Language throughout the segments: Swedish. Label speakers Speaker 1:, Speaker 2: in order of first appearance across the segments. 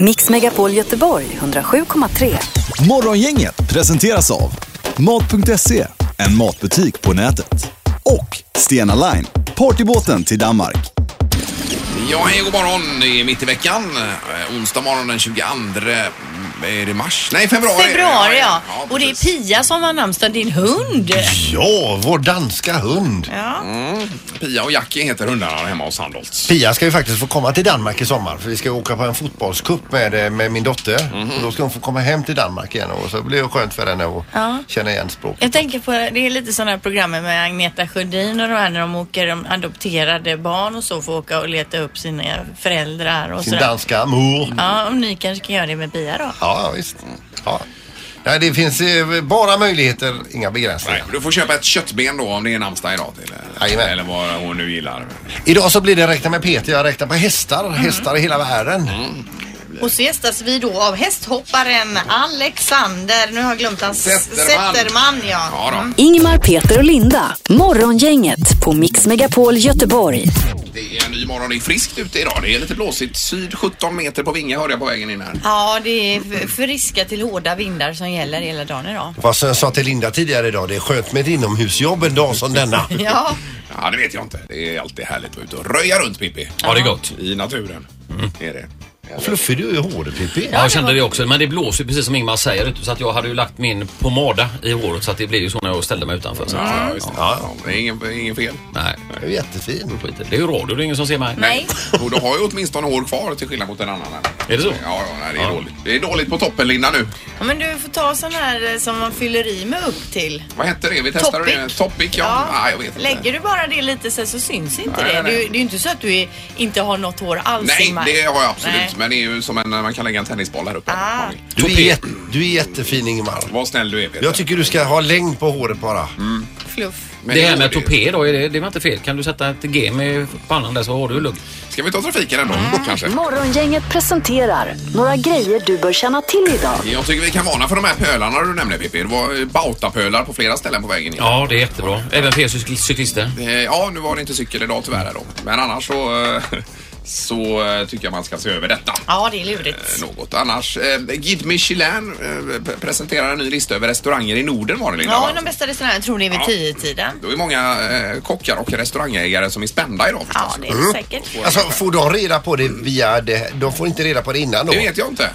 Speaker 1: Mix Megapol Göteborg 107,3.
Speaker 2: Morgongänget presenteras av Mat.se, en matbutik på nätet. Och Stena Line, partybåten till Danmark.
Speaker 3: Ja, hej god morgon. Det är mitt i veckan. Eh, onsdag morgon den 22 är det mars? Nej, februari.
Speaker 4: Februari ja. Och det är
Speaker 3: precis.
Speaker 4: Pia som har namnsdag, din hund.
Speaker 5: Ja, vår danska hund.
Speaker 4: Ja.
Speaker 3: Mm. Pia och Jackie heter hundarna hemma hos Sandholt.
Speaker 5: Pia ska ju faktiskt få komma till Danmark i sommar för vi ska åka på en fotbollscup med, eh, med min dotter.
Speaker 3: Mhm.
Speaker 5: Och då ska hon få komma hem till Danmark igen och så blir det skönt för henne att
Speaker 4: Ja.
Speaker 5: känna igen språket.
Speaker 4: Jag tänker på, det är lite sådana här program med Agneta Sjödin och de här när de åker, de adopterade barn och så får åka och leta upp sina föräldrar och
Speaker 5: Sin
Speaker 4: sådär.
Speaker 5: danska mor.
Speaker 4: Ja, om ni kanske kan göra det med Pia då.
Speaker 5: Ja, visst. Ja. Nej, det finns eh, bara möjligheter, inga
Speaker 3: Nej,
Speaker 5: begränsningar.
Speaker 3: du får köpa ett köttben då om det är namnsdag idag till. eh,
Speaker 5: Jajamän.
Speaker 3: Eller vad hon nu gillar. Mm.
Speaker 5: Idag så blir det räkna med Peter. Jag räknar på hästar. Hästar i hela världen.
Speaker 4: Och så gästas vi då av hästhopparen Alexander, nu har jag glömt hans
Speaker 3: Zetterman.
Speaker 4: Zetterman ja. Mm.
Speaker 3: Ja då.
Speaker 1: Ingemar, Peter och Linda. Morgongänget på Mix Megapol Göteborg.
Speaker 3: Det är en ny morgon. Det är friskt ute idag. Det är lite blåsigt. Syd 17 meter på vinge hörde jag på vägen in här.
Speaker 4: Ja, det är f- friska till hårda vindar som gäller hela dagen idag.
Speaker 5: Vad som jag sa till Linda tidigare idag, det är skönt med ett inomhusjobb en dag som denna.
Speaker 4: Ja,
Speaker 3: Ja, det vet jag inte. Det är alltid härligt att vara ute och röja runt Pippi.
Speaker 6: Ja, det är gott.
Speaker 3: I naturen. Det är det.
Speaker 5: Fluffig du är i håret Pippi.
Speaker 6: Ja, jag kände det också. Men det blåser ju precis som Ingmar säger. Så att jag hade ju lagt min pomada i håret så att det blev ju så när jag ställde mig utanför. Så att,
Speaker 3: Ja,
Speaker 6: ja,
Speaker 3: just det. Ja, det är ingen, ingen fel.
Speaker 6: nej,
Speaker 5: Du är jättefin.
Speaker 6: skit i det. Det är ju radio, det är ingen som ser mig.
Speaker 4: nej.
Speaker 3: Och du har ju åtminstone hår kvar till skillnad mot en annan. här.
Speaker 6: Är det så?
Speaker 3: Ja, ja nej, det, är Dåligt. det är dåligt på toppen Linda nu.
Speaker 4: Ja, men du får ta sån här eh, som man fyller i med upp till.
Speaker 3: Vad hette det? Vi testade
Speaker 4: Topic.
Speaker 3: det. Topic, ja. ja. Ah, jag vet inte.
Speaker 4: Lägger du bara det lite sen så syns inte
Speaker 3: Nej,
Speaker 4: det.
Speaker 3: nej.
Speaker 4: Du, det är ju inte så att du är, inte har något hår alls
Speaker 3: Nej,
Speaker 4: Ingmar.
Speaker 3: det har jag absolut.
Speaker 4: Nej.
Speaker 3: Men det är ju som en, man kan lägga en tennisboll här uppe.
Speaker 4: Ah.
Speaker 5: Du är, jätte, du är jättefin Ingemar.
Speaker 3: Var snäll du är Peter.
Speaker 5: Jag tycker du ska ha längd på håret bara.
Speaker 3: Mm.
Speaker 4: Fluff.
Speaker 3: Men
Speaker 6: Det här med
Speaker 3: det-
Speaker 6: topé då, är det, det var inte fel. Kan du sätta ett G med pannan där så har du lugn.
Speaker 3: Ska vi ta trafiken ändå kanske?
Speaker 1: Morgongänget presenterar några grejer du bör känna till idag.
Speaker 3: Jag tycker vi kan varna för de här pölarna du nämnde Pippi. Det var eh, bautapölar på flera ställen på vägen in.
Speaker 6: Ja, det är jättebra. Även för er cykl- cyklister.
Speaker 3: Eh, Ja, nu var det inte cykel idag tyvärr här då. Men annars så, eh, så eh, tycker jag man ska se över detta.
Speaker 4: Ja, det är lurigt.
Speaker 3: Eh, Något annars. eh, Guide Michelin eh, p- presenterar en ny lista över restauranger i Norden var det Linda, va?
Speaker 4: Ja, de bästa restaurangerna tror det är vid
Speaker 3: Ja.
Speaker 4: 10-tiden.
Speaker 3: Då är många eh, kockar och restaurangägare som är spända idag förstås.
Speaker 4: Ja, det är säkert.
Speaker 5: Alltså får de reda på det via det De får inte reda på det innan då?
Speaker 3: Det vet jag inte.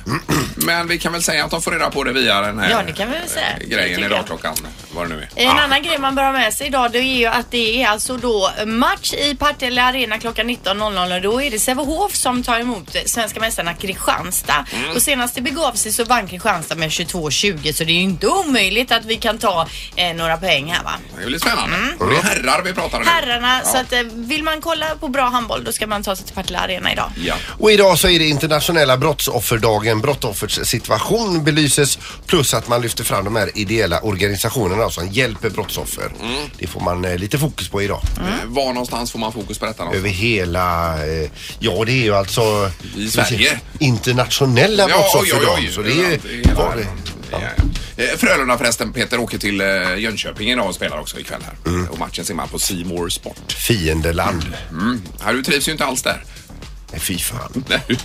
Speaker 3: Men vi kan väl säga att de får reda på det via den här
Speaker 4: Ja, det kan vi väl säga.
Speaker 3: eh,
Speaker 4: Det
Speaker 3: grejen
Speaker 4: tycker
Speaker 3: idag
Speaker 4: jag.
Speaker 3: klockan, vad det nu är.
Speaker 4: En annan grej man bör ha med sig idag det är ju att det är alltså då match i Partille Arena klockan 19.00 och då är det Sävehof som tar emot svenska mästarna Kristianstad.
Speaker 3: Mm.
Speaker 4: Och senast det begav sig så vann Kristianstad med 22-20 så det är ju inte omöjligt att vi kan ta eh, några poäng här va.
Speaker 3: Det blir spännande. Och det är herrar vi pratar om nu.
Speaker 4: Mm. Herrarna,
Speaker 3: Ja.
Speaker 4: så att eh, vill man kolla på bra handboll då ska man ta sig till Partille Arena idag.
Speaker 3: Ja.
Speaker 5: Och idag så är det internationella brottsofferdagen. Brottsoffers situation belyses plus att man lyfter fram de här ideella organisationerna som hjälper brottsoffer. Det får man eh, lite fokus på idag.
Speaker 3: Eh, Var någonstans får man fokus på detta någonstans?
Speaker 5: Över hela, eh, ja det är ju alltså
Speaker 3: I Sverige.
Speaker 5: internationella brottsofferdagen. Så det är
Speaker 3: Överallt i hela världen. Ja. ja. Eh, Frölunda förresten, Peter åker till eh, Jönköping idag och spelar också ikväll här. Och matchen ser man på C More Sport.
Speaker 5: Mm. fiendeland.
Speaker 3: Mm. Ja, du trivs ju inte alls där.
Speaker 5: Nej, Fy fan.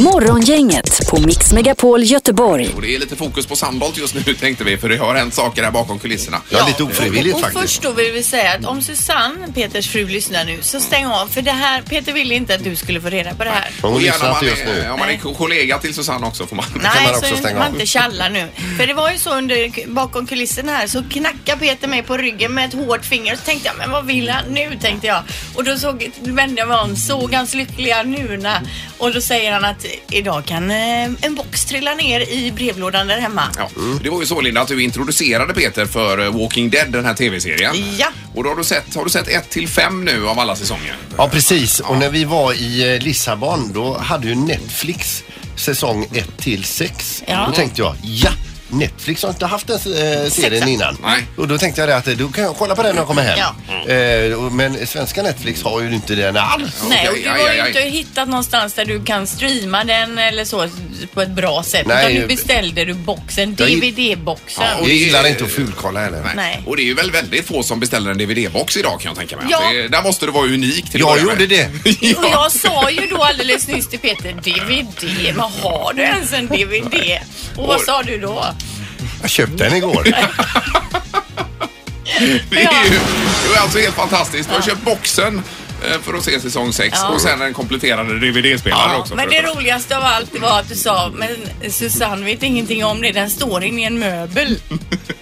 Speaker 1: Morgongänget på Mix Megapol Göteborg.
Speaker 3: Och det är lite fokus på Sandholt just nu tänkte vi för det har hänt saker här bakom kulisserna.
Speaker 5: Ja, lite ofrivilligt
Speaker 4: och, och
Speaker 5: faktiskt.
Speaker 4: först då vill vi säga att om Susanne, Peters fru, lyssnar nu så stäng av för det här, Peter ville inte att du skulle få reda på det här.
Speaker 5: Hon
Speaker 3: Och gärna om
Speaker 5: lyssnar inte
Speaker 3: man
Speaker 5: just
Speaker 3: är,
Speaker 5: nu.
Speaker 3: om man är
Speaker 4: Nej.
Speaker 3: kollega till Susanne också får man.
Speaker 5: kan
Speaker 4: Nej,
Speaker 5: man också
Speaker 4: så
Speaker 5: stänga
Speaker 4: man
Speaker 5: av.
Speaker 4: inte tjallar nu. För det var ju så under, bakom kulissen här så knackade Peter mig på ryggen med ett hårt finger. Så tänkte jag, men vad vill han nu? Tänkte jag. Och då såg, vände jag mig om, såg hans lyckliga nuna. Och då säger han att idag kan eh, en box trilla ner i brevlådan där hemma.
Speaker 3: Ja. Mm. Det var ju så Linda att du introducerade Peter för eh, Walking Dead, den här tv-serien.
Speaker 4: Ja.
Speaker 3: Och då har du sett, har du sett 1 till 5 nu av alla säsonger?
Speaker 5: Ja, precis. Och när vi var i eh, Lissabon då hade ju Netflix säsong 1 till 6.
Speaker 4: Ja.
Speaker 5: Då tänkte jag, ja! Netflix har inte haft den eh, serien
Speaker 4: Sexa.
Speaker 5: innan.
Speaker 3: Nej.
Speaker 5: Och då tänkte jag det att eh, då kan jag kolla på den när jag kommer hem.
Speaker 4: Ja.
Speaker 5: Eh, och- men svenska Netflix har ju inte den alls.
Speaker 4: Nej, och
Speaker 3: Okej,
Speaker 4: du
Speaker 3: aj,
Speaker 4: har
Speaker 3: aj,
Speaker 4: ju
Speaker 3: aj.
Speaker 4: inte hittat någonstans där du kan streama den eller så. ut på ett bra sätt.
Speaker 5: Nej,
Speaker 4: utan
Speaker 5: ju-
Speaker 4: nu beställde du boxen,
Speaker 5: Jag-
Speaker 4: DVD-boxen.
Speaker 5: Jag gillar inte att fulkolla heller.
Speaker 4: Nej.
Speaker 3: Och det är ju väl väldigt få som beställer en DVD-box idag kan jag tänka mig.
Speaker 4: Ja.
Speaker 3: Det, där måste det vara unikt till att
Speaker 5: Jag
Speaker 3: börja med.
Speaker 5: gjorde det.
Speaker 4: Och jag sa ju då alldeles nyss till Peter, DVD, men har du ens en DVD? Och vad sa du då?
Speaker 5: Jag köpte den igår.
Speaker 3: Det är ju det är alltså helt fantastiskt. Du har köpt boxen eh, för att se säsong 6 och sen en kompletterande DVD-spelare
Speaker 4: Ja,
Speaker 3: också.
Speaker 4: men
Speaker 3: för
Speaker 4: det
Speaker 3: att-
Speaker 4: roligaste av allt var att du sa, men Susanne vet ingenting om det, den står inne i en möbel.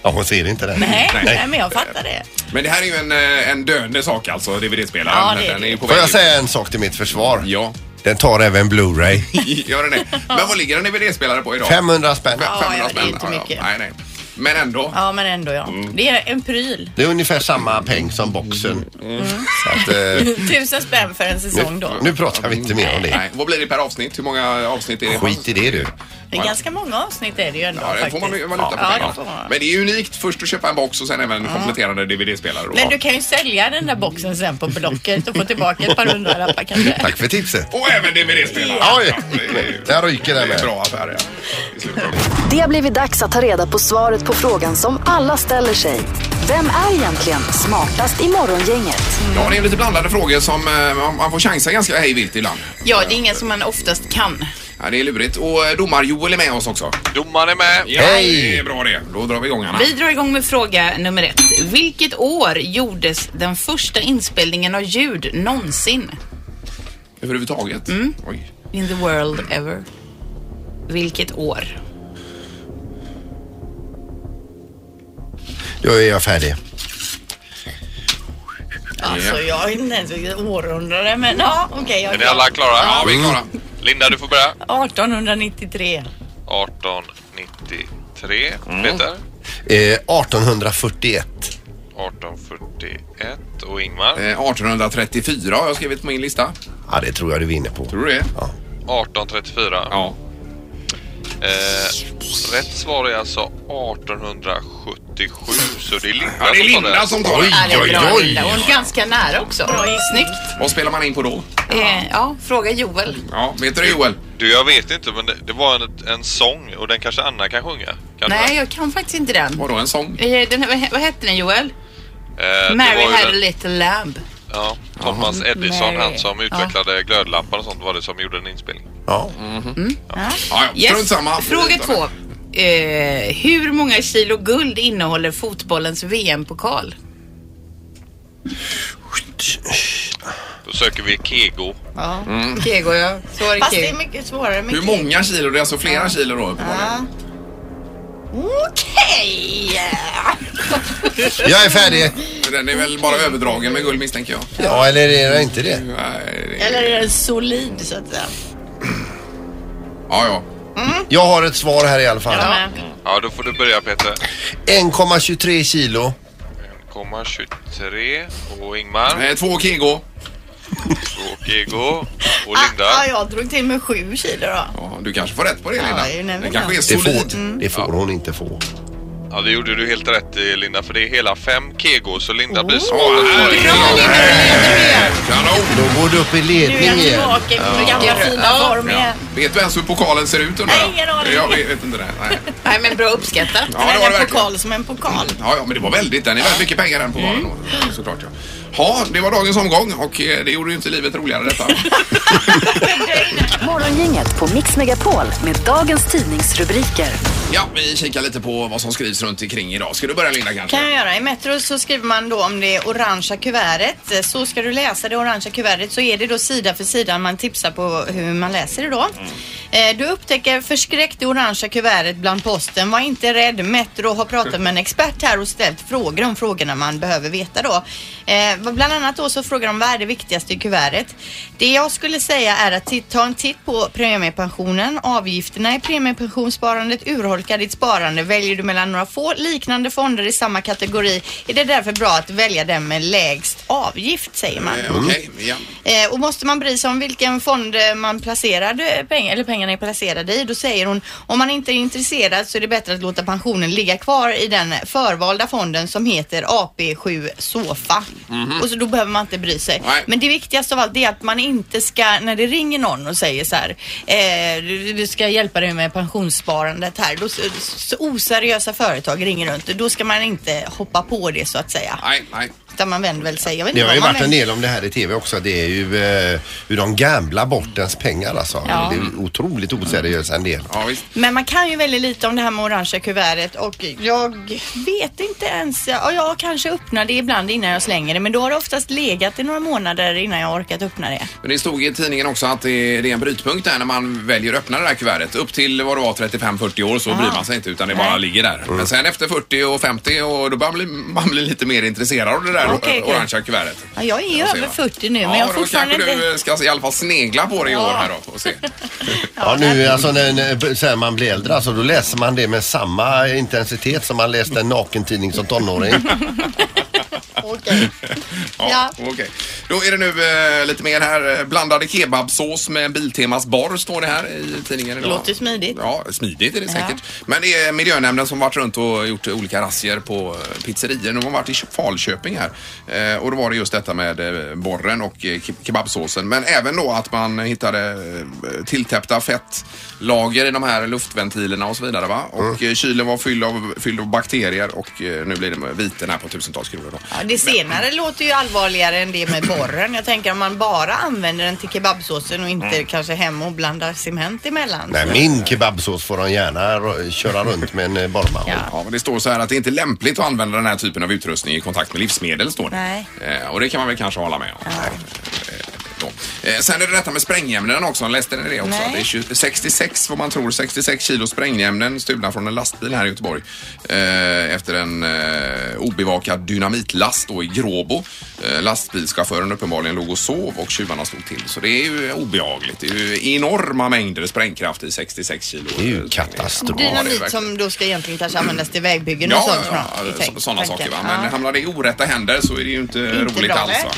Speaker 5: Ja, hon ser inte den.
Speaker 4: Nej,
Speaker 3: Nej.
Speaker 4: nej men jag fattar det.
Speaker 3: men det här är ju en, eh, en döende sak alltså, DVD-spelaren.
Speaker 4: Ja, det är
Speaker 3: den
Speaker 4: det.
Speaker 3: är ju på
Speaker 5: Får
Speaker 3: väg
Speaker 5: jag
Speaker 3: ut.
Speaker 5: säga en sak till mitt försvar?
Speaker 3: Ja,
Speaker 5: Den tar även Blu-ray.
Speaker 3: gör den det. Men vad ligger en DVD-spelare på idag?
Speaker 5: 500 spänn.
Speaker 4: Ja, ja, det är
Speaker 3: spänn.
Speaker 4: inte mycket.
Speaker 3: Nej, nej. Men ändå. Mm.
Speaker 4: Ja, men ändå ja. Det är en pryl.
Speaker 5: Det är ungefär samma peng som boxen.
Speaker 4: Mm.
Speaker 3: Mm.
Speaker 5: Så att, eh,
Speaker 4: Tusen spänn för en säsong
Speaker 5: nu,
Speaker 4: då.
Speaker 5: nu pratar vi inte mer om det.
Speaker 3: Nej, vad blir det per avsnitt? Hur många avsnitt är det?
Speaker 5: Skit i det du.
Speaker 4: Det är ganska många avsnitt är det ju ändå
Speaker 3: Ja, det får
Speaker 4: faktiskt.
Speaker 3: man ju valuta
Speaker 4: ja,
Speaker 3: för
Speaker 4: det
Speaker 3: pengarna.
Speaker 4: får man.
Speaker 3: Men det är ju unikt först att köpa en box och sen även kompletterande DVD-spelare. då.
Speaker 4: Men du kan ju sälja den där boxen sen på Blocket och få tillbaka ett par hundralappar kanske.
Speaker 5: Tack för tipset.
Speaker 3: Och även DVD-spelare.
Speaker 5: Oj,
Speaker 3: det är ju-
Speaker 5: där ryker
Speaker 3: Det
Speaker 5: den.
Speaker 3: är en
Speaker 5: med.
Speaker 3: bra affär ja. I slutändan.
Speaker 1: Det har blivit dags att ta reda på svaret på frågan som alla ställer sig. Vem är egentligen smartast i Morgongänget?
Speaker 3: Ja, det är lite blandade frågor som eh, man- man får chansa ganska hej vilt ibland.
Speaker 4: Ja, det är ingen som man oftast kan.
Speaker 3: Ja, det är lurigt. Och eh, domar-Joel är med oss också.
Speaker 7: Domaren är med.
Speaker 3: Ja,
Speaker 5: Hej!
Speaker 3: Det är bra det. Då drar vi igång Anna.
Speaker 8: Vi drar igång med fråga nummer ett. Vilket år gjordes den första inspelningen av ljud någonsin?
Speaker 3: Överhuvudtaget.
Speaker 4: Mm.
Speaker 3: Oj.
Speaker 8: In the world ever. Vilket år?
Speaker 5: Då är jag färdig.
Speaker 4: Alltså, jag har inte ens vilket århundrade, men ja, okej.
Speaker 7: Är
Speaker 4: Okay,
Speaker 7: ni alla klara? Mm.
Speaker 3: Ja, vi är klara.
Speaker 7: Linda, du får börja.
Speaker 4: 1893.
Speaker 7: 1893.
Speaker 3: Mm.
Speaker 7: Peter.
Speaker 5: Eh, 1841.
Speaker 7: 1841. Och Ingmar.
Speaker 3: Eh, 1834 har jag skrivit på min lista.
Speaker 5: Ja, det tror jag du vinner på.
Speaker 3: Tror du det?
Speaker 7: 1834.
Speaker 3: Ja.
Speaker 7: Eh, rätt svar är alltså 1877. Så det är Linda,
Speaker 3: Ja, det är
Speaker 7: som tar
Speaker 3: Linda som tar
Speaker 5: Oj,
Speaker 3: det.
Speaker 8: Ja, det är
Speaker 5: oj,
Speaker 8: bra
Speaker 5: oj.
Speaker 8: Linda. Och ganska nära också. Snyggt.
Speaker 3: Vad spelar man in på då?
Speaker 8: Eh, ja, fråga Joel.
Speaker 3: Ja, vet du Joel?
Speaker 7: Du, jag vet inte, men det, det var en, en sång och den kanske Anna kan sjunga. Kan du
Speaker 8: Nej,
Speaker 7: den?
Speaker 8: jag kan faktiskt inte den.
Speaker 3: Vadå, en sång?
Speaker 8: Eh, Den, vad he- vad hette den Joel?
Speaker 7: Eh, det
Speaker 8: Mary
Speaker 7: var ju
Speaker 8: had a
Speaker 7: den-
Speaker 8: little lamb.
Speaker 7: Ja, Thomas Edison,
Speaker 8: Mary.
Speaker 7: han som
Speaker 8: Mm, Ja.
Speaker 7: utvecklade glödlampan och sånt, var det som gjorde en inspelning.
Speaker 5: Ja.
Speaker 3: Ja, ja. Strunt samma.
Speaker 8: Mhm. Fråga två. Eh, hur många kilo guld innehåller fotbollens VM-pokal?
Speaker 7: Då söker vi Kego.
Speaker 8: Ja,
Speaker 3: Mm.
Speaker 8: Kego ja. Så var det
Speaker 4: Fast det är
Speaker 8: Kego.
Speaker 4: mycket svårare med
Speaker 3: Hur många kilo? Det är alltså flera kilo då uppenbarligen.
Speaker 4: Okej!
Speaker 5: Jag är färdig.
Speaker 3: Men Den är väl bara överdragen med guld misstänker jag.
Speaker 5: Ja, eller är det inte det?
Speaker 3: Nej, det-
Speaker 4: Eller är den solid så att säga?
Speaker 3: Ja, ja.
Speaker 5: Mm. Jag har ett svar här i alla fall.
Speaker 7: Ja, då får du börja Peter.
Speaker 5: 1,23 kilo.
Speaker 7: 1,23 och Ingmar
Speaker 3: Eh, Två Kego.
Speaker 7: och Kego och
Speaker 4: Ah, ah,
Speaker 7: Linda.
Speaker 4: jag drog till med sju kilo då.
Speaker 8: ah.
Speaker 3: Ja, du kanske får rätt på det Linda.
Speaker 4: det är ju
Speaker 3: den
Speaker 4: nämligen Mm.
Speaker 3: kanske är
Speaker 5: Det
Speaker 3: solid.
Speaker 5: får, det får hon inte få.
Speaker 7: Ja, det gjorde du helt rätt i Linda för det är hela fem Kego så Linda
Speaker 8: Oh,
Speaker 7: blir
Speaker 3: Ja,
Speaker 7: svaret.
Speaker 3: här är Kego. Kanon!
Speaker 5: Då går du upp i
Speaker 4: Nu
Speaker 5: ledning
Speaker 4: är jag
Speaker 5: igen.
Speaker 4: tillbaka i min gamla fina form igen.
Speaker 3: Vet du ens hur pokalen ser ut undrar jag?
Speaker 4: Nej, ingen aning.
Speaker 3: Jag vet inte det. Nej.
Speaker 8: Nej men bra uppskattat.
Speaker 3: Ja, det var det
Speaker 4: Men en
Speaker 3: verkligen.
Speaker 4: pokal som en pokal. Mm.
Speaker 3: Ja, ja, men det var väldigt. Den är väldigt mycket pengar den pokalen. då, Såklart ja. Ja, det var dagens omgång och eh, det gjorde ju inte livet roligare detta.
Speaker 1: Morgongänget på Mix Megapol med dagens tidningsrubriker.
Speaker 3: Ja, vi kikar lite på vad som skrivs runt omkring idag. Ska du börja Linda kanske?
Speaker 4: Kan jag göra. I Metro så skriver man då om det orangea kuvertet. Så ska du läsa det orangea kuvertet så är det då sida för sida man tipsar på hur man läser det då. Eh, Du upptäcker förskräckt det orangea kuvertet bland posten. Var inte rädd. Metro har pratat med en expert här och ställt frågor om frågorna man behöver veta då. Eh, Bland annat då så frågar de vad är det viktigaste i kuvertet? Det jag skulle säga är att titt- ta en titt på premiepensionen. Avgifterna i premiepensionssparandet urholkar ditt sparande. Väljer du mellan några få liknande fonder i samma kategori är det därför bra att välja den med lägst avgift säger man.
Speaker 1: Mm.
Speaker 3: Eh, Okej, ja.
Speaker 4: Eh, och måste man bry sig om vilken fond eh, man placerade pengar, eller pengarna pengarna är placerade i. Då säger hon om man inte är intresserad så är det bättre att låta pensionen ligga kvar i den förvalda fonden som heter AP7 Sofa.
Speaker 5: Mhm.
Speaker 4: Och så då behöver man inte bry sig.
Speaker 3: Nej.
Speaker 4: Men det viktigaste av allt är att man inte ska, när det ringer någon och säger så här, eh, du, du ska hjälpa dig med pensionssparandet här. Då, s- s- oseriösa företag ringer runt. Då ska man inte hoppa på det så att säga.
Speaker 3: Nej, nej.
Speaker 4: Utan man vänder väl sig. Jag vet
Speaker 5: Det
Speaker 4: inte
Speaker 5: har ju
Speaker 4: vad man
Speaker 5: varit en
Speaker 4: vänder-
Speaker 5: del om det här i tv också. Det är ju eh, hur de gamblar bort ens pengar alltså.
Speaker 4: Ja.
Speaker 5: Det är otroligt oseriöst en del.
Speaker 3: Ja, visst.
Speaker 4: Men man kan ju väldigt lite om det här med orangea kuvertet och jag vet inte ens. Ja, jag kanske öppnar det ibland innan jag slänger det men då har det oftast legat i några månader innan jag har orkat öppna det.
Speaker 3: Men det stod i tidningen också att det det är en brytpunkt där när man väljer att öppna det här kuvertet. Upp till vad det var 35-40 år så bryr man sig inte utan det bara
Speaker 4: Nej. Mm.
Speaker 3: ligger där. Men sen efter 40 och 50 och då börjar man bli, man blir lite mer intresserad av det där
Speaker 4: Okej,
Speaker 3: o-
Speaker 4: okej.
Speaker 3: orangea kuvertet.
Speaker 4: Ja, jag är ju
Speaker 3: Jag ser
Speaker 4: över
Speaker 3: det.
Speaker 4: 40 nu men
Speaker 3: ja,
Speaker 4: jag har
Speaker 3: då
Speaker 4: fortfarande
Speaker 3: kanske
Speaker 4: inte...
Speaker 3: du ska i alla fall snegla på det i år här då och se.
Speaker 5: Ja, nu alltså när, när så här, man blir äldre alltså, då läser man det med samma intensitet som man läste en nakentidning som tonåring.
Speaker 4: Okej.
Speaker 3: Ja,
Speaker 4: Ja.
Speaker 3: okej. Då är det nu eh, lite mer här. eh, Blandade kebabsås med Biltemas borr står det här i tidningen idag.
Speaker 4: Låter smidigt.
Speaker 3: Ja, smidigt är det
Speaker 4: Ja.
Speaker 3: säkert. Men det är miljönämnden som varit runt och gjort olika razzior på eh, pizzerior. De har varit i Falköping här Eh, och då var det just detta med eh, borren och eh, ke- kebabsåsen. Men även då att man hittade eh, tilltäppta fettlager i de här luftventilerna och så vidare va? Och
Speaker 5: Mm.
Speaker 3: eh, kylen var fylld av, fylld av bakterier och eh, nu blir det viten här på tusentals kronor då.
Speaker 4: Ja, det senare låter ju allvarligare än det med borren. Jag tänker om man bara använder den till kebabsåsen och inte
Speaker 3: Mm.
Speaker 4: kanske hem och blandar cement emellan.
Speaker 5: Nej, min kebabsås får de gärna ro- köra runt med en eh, borrman.
Speaker 4: Ja.
Speaker 3: Ja, men det står så här att det är inte lämpligt att använda den här typen av utrustning i kontakt med livsmedel. Står det.
Speaker 4: Nej.
Speaker 3: Eh, och det kan man väl kanske hålla med om. Eh, då. Eh, sen är det detta med sprängämnen också. Läste ni det också?
Speaker 4: Nej.
Speaker 3: Det är 20, 66, vad man tror, 66 kilo sprängämnen stulna från en lastbil här i Göteborg eh, efter en eh, obevakad dynamitlast då i Gråbo. Eh, lastbilschauffören uppenbarligen låg och sov och tjuvarna slog till. Så det är ju obehagligt. Det är ju enorma mängder sprängkraft i 66 kilo.
Speaker 5: Det är ju
Speaker 3: eh, sprängämnen.
Speaker 5: katastrof.
Speaker 3: Ja, det är
Speaker 4: Dynamit
Speaker 3: verkligen-
Speaker 4: som då ska egentligen kanske användas till vägbyggen och
Speaker 3: Ja,
Speaker 4: sånt.
Speaker 3: ja,
Speaker 4: från- i
Speaker 3: ja,
Speaker 4: tänk-
Speaker 3: så- sådana
Speaker 4: tanken.
Speaker 3: saker. Va? Men
Speaker 4: Ja.
Speaker 3: hamnar det i orätta händer så är det ju inte, roligt
Speaker 4: bra,
Speaker 3: alls.
Speaker 4: nej.
Speaker 3: Va?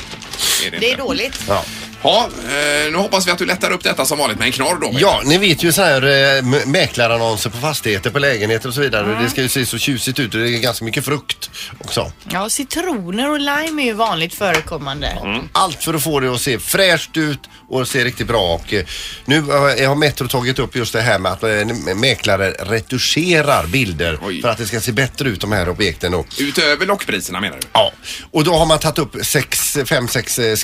Speaker 3: Är
Speaker 4: Det är
Speaker 3: inte.
Speaker 4: dåligt.
Speaker 5: Ja.
Speaker 3: Ja, eh, nu hoppas vi att du lättar upp detta som vanligt med en knorr då. Peter.
Speaker 5: Ja, ni vet ju så här eh, m- mäklarannonser på fastigheter, på lägenheter och så vidare. Det ska ju se så tjusigt ut och det är ganska mycket frukt också.
Speaker 4: Ja, och citroner och lime är ju vanligt förekommande.
Speaker 5: Allt för att få det att se fräscht ut och se riktigt bra. Och eh, nu eh, har Metro tagit upp just det här med att eh, mäklare retuscherar bilder
Speaker 3: Oj.
Speaker 5: för att det ska se bättre ut de här objekten. Och
Speaker 3: Utöver lockpriserna menar du?
Speaker 5: Ja, och då har man tagit upp sex, fem, sex eh,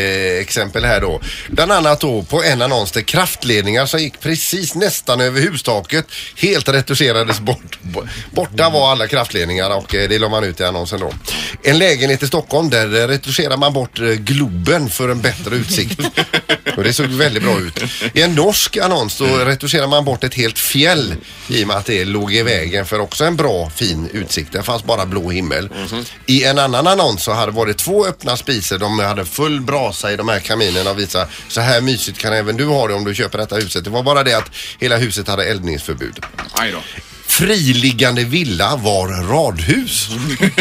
Speaker 5: skräckexempel här då. Bland annat då på en annons där kraftledningar som gick precis nästan över hustaket helt retuscherades bort. Bo- Borta var alla kraftledningar och eh, det la man ut i annonsen då. En lägenhet i Stockholm där eh, retuscherar man bort eh, Globen för en bättre utsikt. Och det såg väldigt bra ut. I en norsk annons så retuscherar man bort ett helt fjäll i och med att det låg i vägen för också en bra fin utsikt. Det fanns bara blå himmel.
Speaker 3: Mhm.
Speaker 5: I en annan annons så hade varit två öppna spisar. De hade full brasa i de här kaminerna och visade så här mysigt kan även du ha det om du köper detta huset. Det var bara det att hela huset hade eldningsförbud.
Speaker 3: Aj då.
Speaker 5: Friliggande villa var radhus.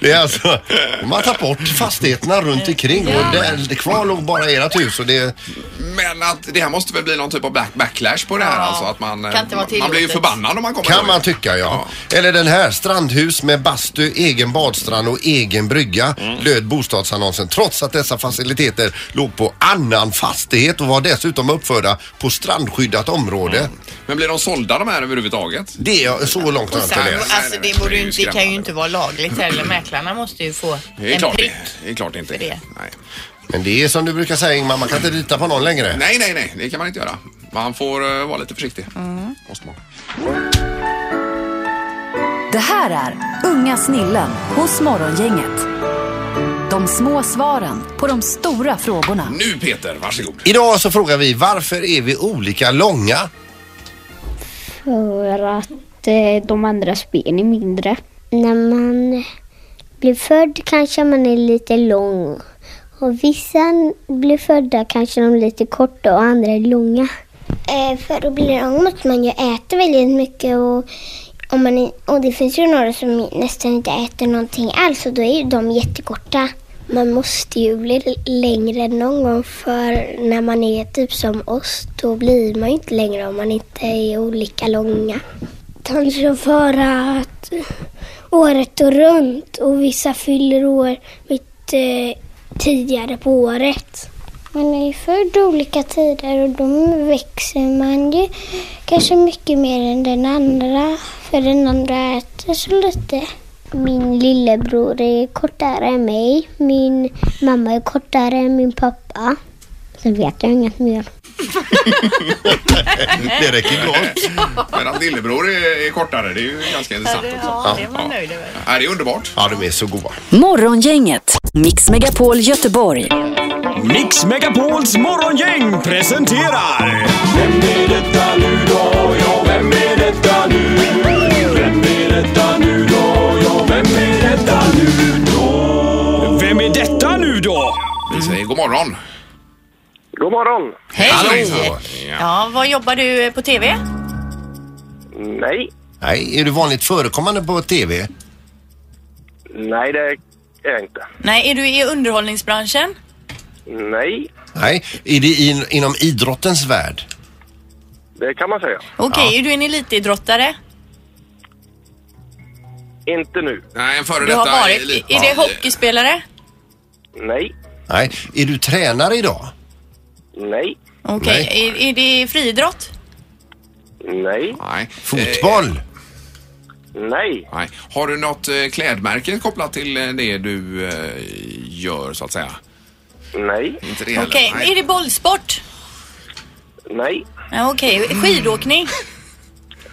Speaker 5: det är alltså, man har tagit bort fastigheterna runt omkring och där, kvar låg bara ert hus och det
Speaker 3: Men att det här måste väl bli någon typ av back backlash på det här
Speaker 4: Ja.
Speaker 3: alltså? Att man, eh,
Speaker 4: Kan inte vara
Speaker 3: man blir ju
Speaker 4: tillåtet.
Speaker 3: förbannad om man kommer
Speaker 5: Kan
Speaker 3: då.
Speaker 5: man tycka ja. Eller den här, strandhus med bastu, egen badstrand och egen brygga,
Speaker 4: Mm.
Speaker 5: löd bostadsannonsen trots att dessa faciliteter låg på annan fastighet och var dessutom uppförda på strandskyddat område.
Speaker 4: Mm.
Speaker 3: Men blir de sålda de här överhuvudtaget?
Speaker 5: Det är så långt har
Speaker 4: Och
Speaker 5: jag
Speaker 4: sen,
Speaker 5: inte läst.
Speaker 3: Nej,
Speaker 4: alltså
Speaker 3: nej, nej.
Speaker 4: det, borde
Speaker 3: Det är
Speaker 4: ju
Speaker 3: ju
Speaker 4: inte, det kan ju
Speaker 3: skrämmande.
Speaker 4: inte vara lagligt heller. Mäklarna måste ju få
Speaker 3: Det är
Speaker 4: en
Speaker 3: klart
Speaker 4: prick.
Speaker 3: det. Det är klart det inte är.
Speaker 4: för det.
Speaker 3: Nej.
Speaker 5: Men det är som du brukar säga Ingmar, man kan inte lita på någon längre.
Speaker 3: nej, nej, nej. Det kan man inte göra. Man får eh, vara lite försiktig.
Speaker 4: Mm.
Speaker 3: Måste man.
Speaker 1: Det här är Unga snillen hos Morgongänget. De små svaren på de stora frågorna.
Speaker 3: Nu Peter, varsågod.
Speaker 5: Idag så frågar vi varför är vi olika långa?
Speaker 9: För att eh, de andras ben är mindre. När man blir född kanske man är lite lång. Och vissa blir födda kanske de är lite korta och andra är långa. Eh, för att bli lång måste man ju äta väldigt mycket och, om man är, och det finns ju några som nästan inte äter någonting alls och då är ju de jättekorta. Man måste ju bli l- längre än någon gång för när man är typ som oss då blir man ju inte längre om man inte är olika långa. Kanske för att eh, året och runt och vissa fyller år mitt eh, tidigare på året. Man är ju född olika tider och då växer man ju kanske mycket mer än den andra för den andra äter så lite. Min lillebror är kortare än mig. Min mamma är kortare än min pappa. Sen vet jag inget mer.
Speaker 5: Det räcker gott.
Speaker 3: Men att lillebror är, är kortare, det är ju ganska intressant.
Speaker 4: det,
Speaker 3: också.
Speaker 4: ja, det är man
Speaker 3: Ja.
Speaker 4: nöjd över.
Speaker 3: Ja, det är underbart.
Speaker 5: Ja, de är så goda.
Speaker 1: Morgongänget, Mix Megapol Göteborg.
Speaker 2: Mix Megapols morgongäng presenterar... Vem är detta nu då? Ja, vem är detta nu? Vem är detta nu då? Ja, vem är detta nu då? Vem är detta nu då?
Speaker 3: Vi säger god morgon.
Speaker 10: God morgon!
Speaker 4: Hej! Ja, vad jobbar du eh, på TV?
Speaker 10: Nej,
Speaker 5: Nej, är du vanligt förekommande på TV?
Speaker 10: nej det är jag inte.
Speaker 4: Nej, är du i underhållningsbranschen?
Speaker 10: Nej,
Speaker 5: Nej, är det in, inom idrottens värld?
Speaker 10: det kan man säga.
Speaker 4: Okej, är du en elitidrottare?
Speaker 10: Inte nu.
Speaker 3: Nej, en före
Speaker 4: Du
Speaker 3: detta
Speaker 4: har varit.
Speaker 3: elit-
Speaker 4: Är det hockeyspelare?
Speaker 10: Nej,
Speaker 5: Nej, är du tränare idag?
Speaker 10: nej,
Speaker 4: Okej, är, är det friidrott?
Speaker 10: nej, Eh,
Speaker 3: Nej.
Speaker 5: Fotboll?
Speaker 10: nej.
Speaker 3: Nej. Har du något eh, klädmärke kopplat till eh, det du eh, gör så att säga?
Speaker 10: Nej,
Speaker 3: Inte det heller?
Speaker 4: Okej,
Speaker 3: Nej.
Speaker 4: är det bollsport?
Speaker 10: nej.
Speaker 4: Ja, Okej, skidåkning?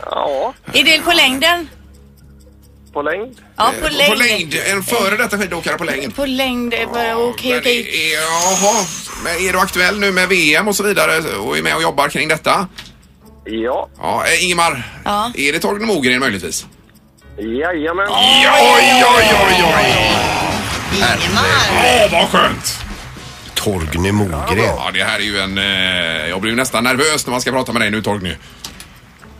Speaker 10: Ja,
Speaker 4: Är det på längden?
Speaker 10: på längd.
Speaker 4: Ja,
Speaker 3: Eh, På
Speaker 4: på längd.
Speaker 3: längd. En före detta skidåkare på längd.
Speaker 4: På längd, eh, okej, okej.
Speaker 3: Men är- Jaha, men är du aktuell nu med VM och så vidare och är med och jobbar kring detta?
Speaker 10: Ja,
Speaker 3: Ja, eh, Ingemar,
Speaker 4: Ja.
Speaker 3: är det Torgny Mogren möjligtvis?
Speaker 10: jajamän.
Speaker 3: Ja, oj, oj, oj, oj!
Speaker 4: Ingemar!
Speaker 3: Åh, vad skönt!
Speaker 5: Torgny Mogren.
Speaker 3: Ja, det här är ju en... eh, Jag blir ju nästan nervös när man ska prata med dig nu, Torgny.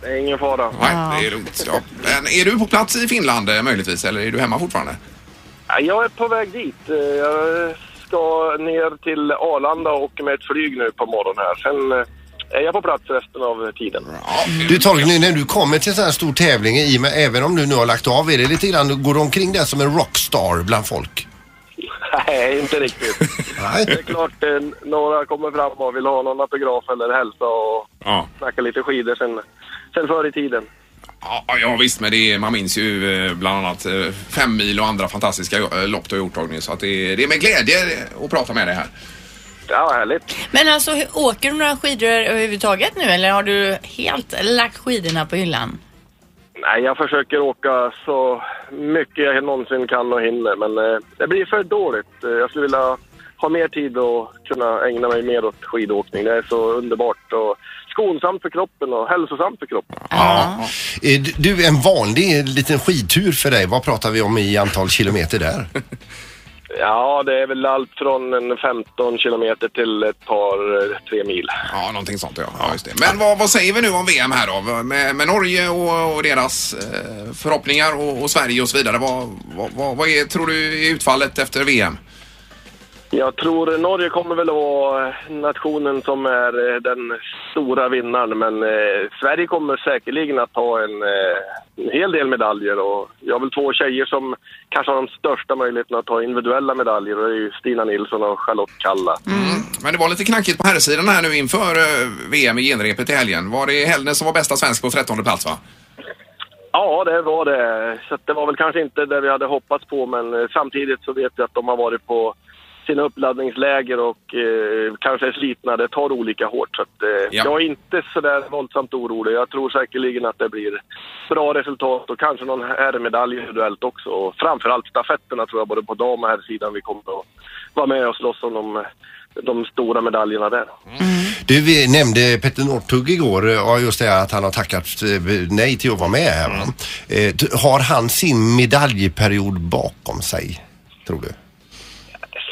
Speaker 10: Det är ingen fara.
Speaker 3: Nej, det är lugnt. Ja. Men är du på plats i Finland eh, möjligtvis, eller är du hemma fortfarande?
Speaker 10: Ja, Jag är på väg dit. Eh, Jag ska ner till Arlanda och åker med ett flyg nu på morgonen här. Sen eh, är jag på plats resten av tiden.
Speaker 3: Ja,
Speaker 5: Du Torgny, när du kommer till en sån här stor tävling, i och med, även om du nu har lagt av, är det lite grann, går du omkring där som en rockstar bland folk?
Speaker 10: Nej, inte riktigt. Det är
Speaker 5: Nej.
Speaker 10: klart, eh, några kommer fram och vill ha någon autograf eller hälsa och
Speaker 3: ja.
Speaker 10: snacka lite skidor sen, sen förr i tiden.
Speaker 3: Ja, ja visst, men det är, man minns ju eh, bland annat eh, fem mil och andra fantastiska eh, lopp du har gjort Torgny. Så att det, är, det är med glädje eh, att prata med dig här.
Speaker 10: Ja, vad härligt.
Speaker 4: Men alltså, hur- åker du några skidor överhuvudtaget nu eller har du helt lagt skidorna på hyllan?
Speaker 10: Nej, jag försöker åka så mycket jag någonsin kan och hinner, men eh, det blir för dåligt. Eh, jag skulle vilja ha mer tid och kunna ägna mig mer åt skidåkning. Det är så underbart och skonsamt för kroppen och hälsosamt för kroppen.
Speaker 5: Ja. Är d- Du, en vanlig liten skidtur för dig, vad pratar vi om i antal kilometer där?
Speaker 10: Ja, det är väl allt från en 15 kilometer till ett par, eh, tre mil.
Speaker 3: Ja, någonting sånt ja. ja just det. Men vad, vad säger vi nu om VM här då? Med, med Norge och, och deras eh, förhoppningar och, och Sverige och så vidare. Vad, vad, vad, vad är, tror du är utfallet efter VM?
Speaker 10: Jag tror Norge kommer väl att vara eh, nationen som är eh, den stora vinnaren, men eh, Sverige kommer säkerligen att ta en, eh, en hel del medaljer. Och jag har väl två tjejer som kanske har de största möjligheterna att ta individuella medaljer och det är ju Stina Nilsson och Charlotte Kalla.
Speaker 3: Mm. Men det var lite knackigt på herrsidan här nu inför eh, VM i genrepet i helgen. Var det Hellner som var bästa svensk på 13 plats va?
Speaker 10: Ja, det var det. Så att det var väl kanske inte det vi hade hoppats på, men eh, samtidigt så vet vi att de har varit på sina uppladdningsläger och eh, kanske är slitna. Det tar olika hårt. Så att, eh,
Speaker 3: Ja.
Speaker 10: Jag är inte så där våldsamt orolig. Jag tror säkerligen att det blir bra resultat och kanske någon herrmedalj individuellt också. Och framförallt stafetterna tror jag, både på dam och herrsidan, vi kommer att vara med och slåss om de, de stora medaljerna där.
Speaker 5: Du, vi nämnde Petter Northug igår, eh, ja, just det här att han har tackat eh, nej till att vara med här. va? Eh, t- Har han sin medaljperiod bakom sig, tror du?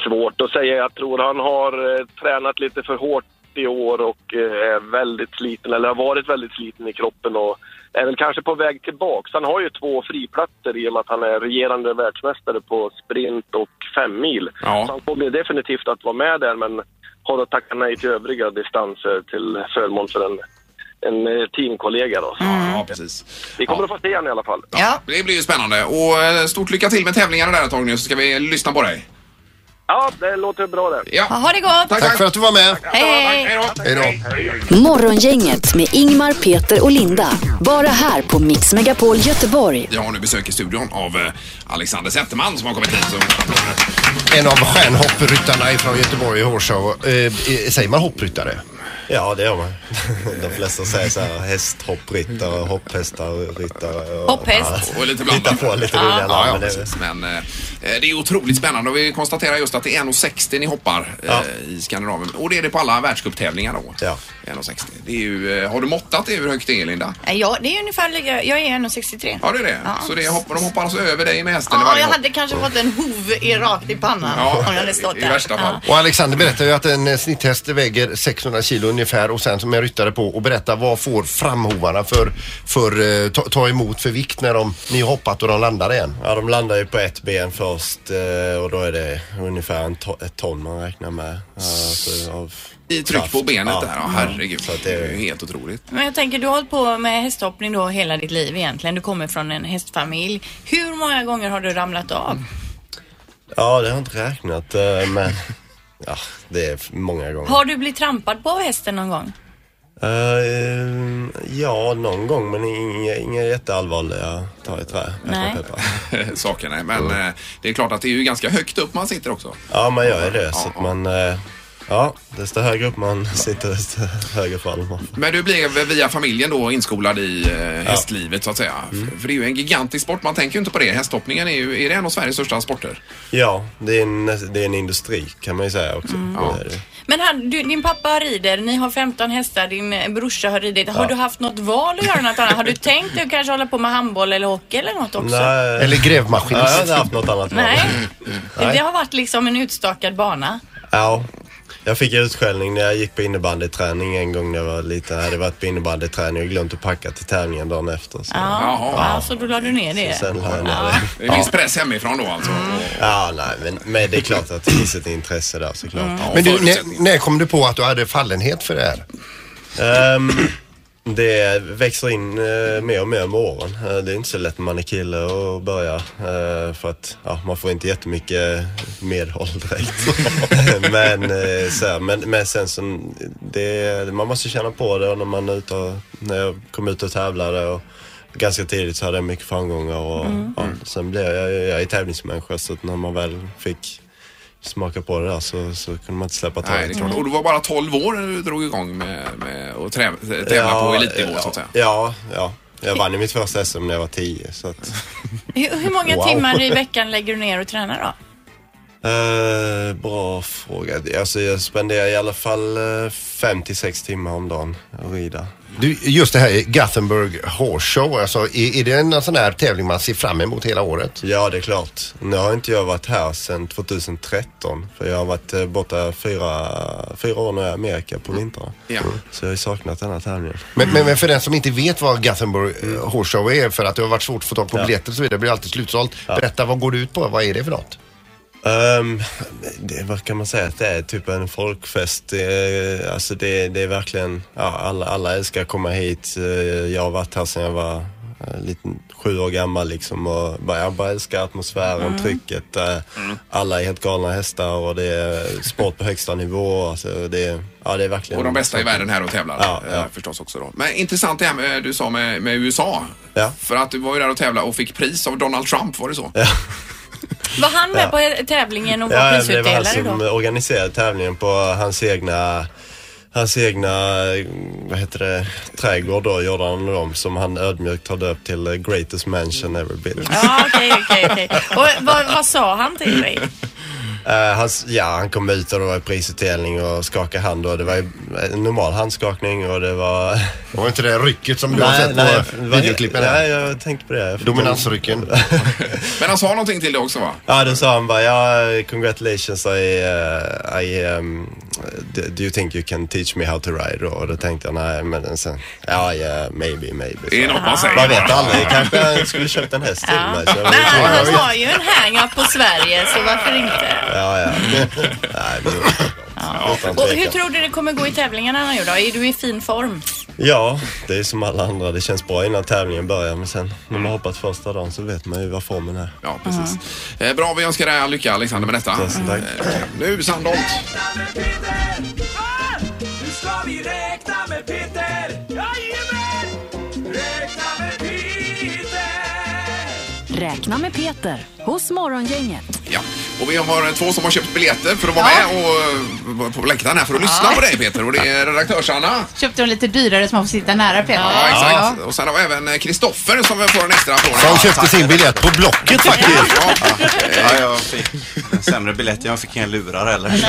Speaker 10: Svårt att säga. Jag tror han har eh, tränat lite för hårt 40 år och eh, är väldigt sliten, eller har varit väldigt sliten i kroppen och är väl kanske på väg tillbaks. Han har ju två friplatser i och med att han är regerande världsmästare på sprint och fem mil.
Speaker 3: Ja.
Speaker 10: Så han kommer ju definitivt att vara med där men har att tacka nej till övriga distanser till förmån för en, en eh, teamkollega då. Så
Speaker 3: Mm. Ja, precis.
Speaker 10: Vi kommer
Speaker 3: Ja.
Speaker 10: att få se honom i alla fall.
Speaker 4: Ja.
Speaker 3: Det blir ju spännande. Och eh, stort lycka till med tävlingarna där Torgny, så ska vi lyssna på dig.
Speaker 10: Ja, det låter bra det.
Speaker 4: Ja,
Speaker 3: Ja.
Speaker 4: Ha det gott!
Speaker 3: Tack,
Speaker 5: Tack för att du var med.
Speaker 4: Hej, hej!
Speaker 3: Hej då.
Speaker 5: Hej då.
Speaker 1: Morgongänget med Ingmar, Peter och Linda. Bara här på Mix Megapol Göteborg.
Speaker 3: Vi har nu besök i studion av eh, Alexander Zetterman som har kommit hit. Så...
Speaker 5: En av stjärnhoppryttarna ifrån Göteborg och Horshov. Eh, eh, säger man hoppryttare?
Speaker 11: Ja, det gör man. De flesta säger så här hästhoppryttare, hopphästar, ryttare. och-
Speaker 4: Hopphäst.
Speaker 3: Och lite
Speaker 11: Hitta
Speaker 3: blandat.
Speaker 11: på lite roliga
Speaker 3: Ja, ja,
Speaker 11: namn. men det-
Speaker 3: precis. Men eh, det är otroligt spännande och vi konstaterar just att det är 1,60 ni hoppar eh,
Speaker 11: Ja.
Speaker 3: i Skandinavien. Och det är det på alla världscuptävlingar då.
Speaker 11: Ja.
Speaker 3: 1,60. Det är ju, eh, har du måttat det hur högt det är Linda?
Speaker 4: Ja, det är ungefär lika. Jag är 1,63.
Speaker 3: Ja, det är det. Så det hoppar, de hoppar alltså över dig med hästen i
Speaker 4: Ja,
Speaker 3: varje
Speaker 4: jag
Speaker 3: hopp.
Speaker 4: hade kanske fått en hov i rakt i pannan om jag hade
Speaker 3: Ja,
Speaker 4: stått
Speaker 3: i
Speaker 4: där.
Speaker 3: värsta fall.
Speaker 5: Och Alexander berättar ju att en eh, snitthäst väger 600 kilo ungefär och sen som en ryttare på och berättar vad får framhovarna för, för eh, ta, ta emot för vikt när de, ni har hoppat och de landar igen.
Speaker 11: Ja, de landar ju på ett ben först eh, och då är det ungefär en to- ett ton man räknar med. eh, Alltså, av
Speaker 3: I tryck
Speaker 11: kraft.
Speaker 3: på benet
Speaker 11: Ja.
Speaker 3: där. Ja, herregud.
Speaker 11: Så att
Speaker 3: det
Speaker 11: det-
Speaker 3: är ju helt otroligt.
Speaker 4: Men jag tänker, du har hållit på med hästhoppning då hela ditt liv egentligen. Du kommer från en hästfamilj. Hur många gånger har du ramlat av?
Speaker 3: Mm.
Speaker 11: Ja, det har jag inte räknat eh, men ja, det är många gånger.
Speaker 4: Har du blivit trampad på av hästen någon gång?
Speaker 11: Eh, ja, någon gång men inga, inga jätteallvarliga tar i trä. Peppar,
Speaker 4: Nej.
Speaker 11: peppar.
Speaker 3: Sakerna. Men eh, det är klart att det är ju ganska högt upp man sitter också.
Speaker 11: Ja, man gör ju det så
Speaker 3: Ja,
Speaker 11: att man... eh, ja, desto högre upp man sitter desto högre faller man.
Speaker 3: Men du blev via familjen då inskolad i eh, hästlivet så att säga.
Speaker 11: Mm.
Speaker 3: F- För det är ju en gigantisk sport. Man tänker ju inte på det. Hästhoppningen är ju, är det en av Sveriges största sporter?
Speaker 11: Ja, det är, en, det är en industri kan man ju säga också.
Speaker 3: Mm. Ja.
Speaker 11: Det är det.
Speaker 4: Men han, du, din pappa rider, ni har 15 hästar, din eh, brorsa har ridit. Har
Speaker 11: Ja.
Speaker 4: du haft något val att göra något annat? Har du tänkt att kanske hålla på med handboll eller hockey eller något också?
Speaker 11: Nej,
Speaker 5: Eller
Speaker 11: ja, jag har
Speaker 5: grävmaskinist.
Speaker 11: inte haft något annat val.
Speaker 4: Nej.
Speaker 11: Nej.
Speaker 4: Det har varit liksom en utstakad bana.
Speaker 11: Ja. Jag fick utskällning när jag gick på innebandyträning en gång när jag var liten. Jag hade varit på innebandyträning och glömt att packa till tävlingen dagen efter. Så.
Speaker 4: Ja,
Speaker 3: Jaha.
Speaker 4: ja, så då la du ner det.
Speaker 11: Sen la jag ner det.
Speaker 3: Det finns press hemifrån då alltså. Och,
Speaker 11: Ja, nej, men, men det är klart att det finns ett intresse där såklart.
Speaker 3: Mm. ja,
Speaker 5: Men du,
Speaker 3: förutsättningar.
Speaker 5: när, när kom du på att du hade fallenhet för det här?
Speaker 11: Ehm, det växer in eh, mer och mer med åren. Eh, det är inte så lätt när man är kille att börja. eh, för att ja, man får inte jättemycket medhåll direkt. men, eh, så här, men, men sen så, det, man måste känna på det och när man är ute och, när jag kom ut och tävlade och Ganska tidigt så hade jag mycket framgångar och
Speaker 3: Mm.
Speaker 11: ja, sen blev jag, jag är tävlingsmänniska så att när man väl fick smaka på det där så, så kunde man inte släppa taget.
Speaker 3: Nej, det är klart. Och du var bara 12 år när du drog igång med, med att trä, tävla på elitnivå
Speaker 11: ja,
Speaker 3: så att säga.
Speaker 11: Ja, ja. Jag vann ju mitt första SM när jag var 10 så att...
Speaker 4: Hur, hur många
Speaker 11: Wow.
Speaker 4: timmar i veckan lägger du ner och tränar då?
Speaker 11: Eh, bra fråga. Alltså jag spenderar i alla fall eh, 5-6 timmar om dagen att rida.
Speaker 5: Du, just det här Gothenburg Horse Show, alltså, är, är det en sån här tävling man ser fram emot hela året?
Speaker 11: Ja, det är klart. Nu har inte jag varit här sedan 2013 för jag har varit eh, borta fyra, fyra år nu i Amerika på vintrarna.
Speaker 3: Ja.
Speaker 11: Så jag har ju saknat den här tävlingen.
Speaker 5: Men, men, men för den som inte vet vad Gothenburg eh, Horse Show är, för att det har varit svårt att få tag på biljetter och så vidare, det blir alltid slutsålt. Berätta, vad går det ut på? Vad är det för något?
Speaker 11: Ehm, det, vad kan man säga att det är? Typ en folkfest. Det, alltså det, det är verkligen, ja, alla, alla älskar att komma hit. Eh, Jag har varit här sedan jag var eh, liten, sju år gammal liksom och bara, jag bara älskar atmosfären,
Speaker 3: Mm.
Speaker 11: trycket. eh, Alla är helt galna hästar och det är sport på högsta nivå. Alltså det, ja, det är verkligen...
Speaker 3: Och de bästa i världen här och tävlar
Speaker 11: Ja, ja.
Speaker 3: eh, förstås också då. Men intressant det här med, du sa med, med USA.
Speaker 11: Ja.
Speaker 3: För att du var ju där och tävlade och fick pris av Donald Trump, var det så?
Speaker 4: Var han med på he- tävlingen och var
Speaker 11: Ja, det var han
Speaker 4: prisutdelare
Speaker 11: som
Speaker 4: då?
Speaker 11: organiserade tävlingen på hans egna Hans egna, eh, vad heter det, trädgård då gjorde han dem som han ödmjukt har döpt till eh, Greatest Mansion Ever Built.
Speaker 4: Ja, okej, okej, okej. Och vad, vad sa han till dig?
Speaker 11: Eh, hans, ja, han kom ut och det var prisutdelning och skakade hand och det var ju en normal handskakning och det var...
Speaker 5: Det var inte det rycket som du har sett på
Speaker 11: det var-
Speaker 5: videoklippen? här.
Speaker 11: Nej, jag tänkte på det. Jag fick-
Speaker 5: Dominansrycken.
Speaker 3: Men han sa någonting till dig också va?
Speaker 11: Ja, då sa han bara, ja, congratulations I, uh, I um, do, do you think you can teach me how to ride? Och då tänkte jag nej men sen, ja yeah, maybe, maybe.
Speaker 3: Det är något man säger.
Speaker 11: Man vet aldrig, kanske han skulle köpt en häst till mig. så jag vet
Speaker 4: Men
Speaker 11: inte.
Speaker 4: han har ju en hang-up på Sverige så varför inte?
Speaker 11: Ja, ja. nej, men, utan
Speaker 4: Och hur
Speaker 11: tvekan.
Speaker 4: tror du det kommer gå i tävlingarna nu då? Är du i fin form?
Speaker 11: Ja, det är som alla andra. Det känns bra innan tävlingen börjar men sen när man hoppat första dagen så vet man ju vad formen är.
Speaker 3: Ja, precis. Eh, Bra, vi önskar dig all lycka Alexander med detta.
Speaker 11: Tusen tack.
Speaker 3: Eh, Nu Sandholt.
Speaker 2: Nu ska vi räkna med Peter! Jajamän! Räkna med Peter!
Speaker 1: Räkna med Peter hos Morgongänget.
Speaker 3: Ja. Och vi har eh, två som har köpt biljetter för att vara med och eh, vara på läktaren här för att lyssna på dig Peter. Och det är redaktörs-Anna.
Speaker 8: Köpte de lite dyrare så man får sitta nära Peter.
Speaker 3: Ja, exakt. Och sen har vi även eh, Kristoffer som får en extra applåd.
Speaker 5: Som köpte sin biljett på Blocket faktiskt.
Speaker 12: Ja, jag fick en sämre biljett. Jag fick inga lurar heller.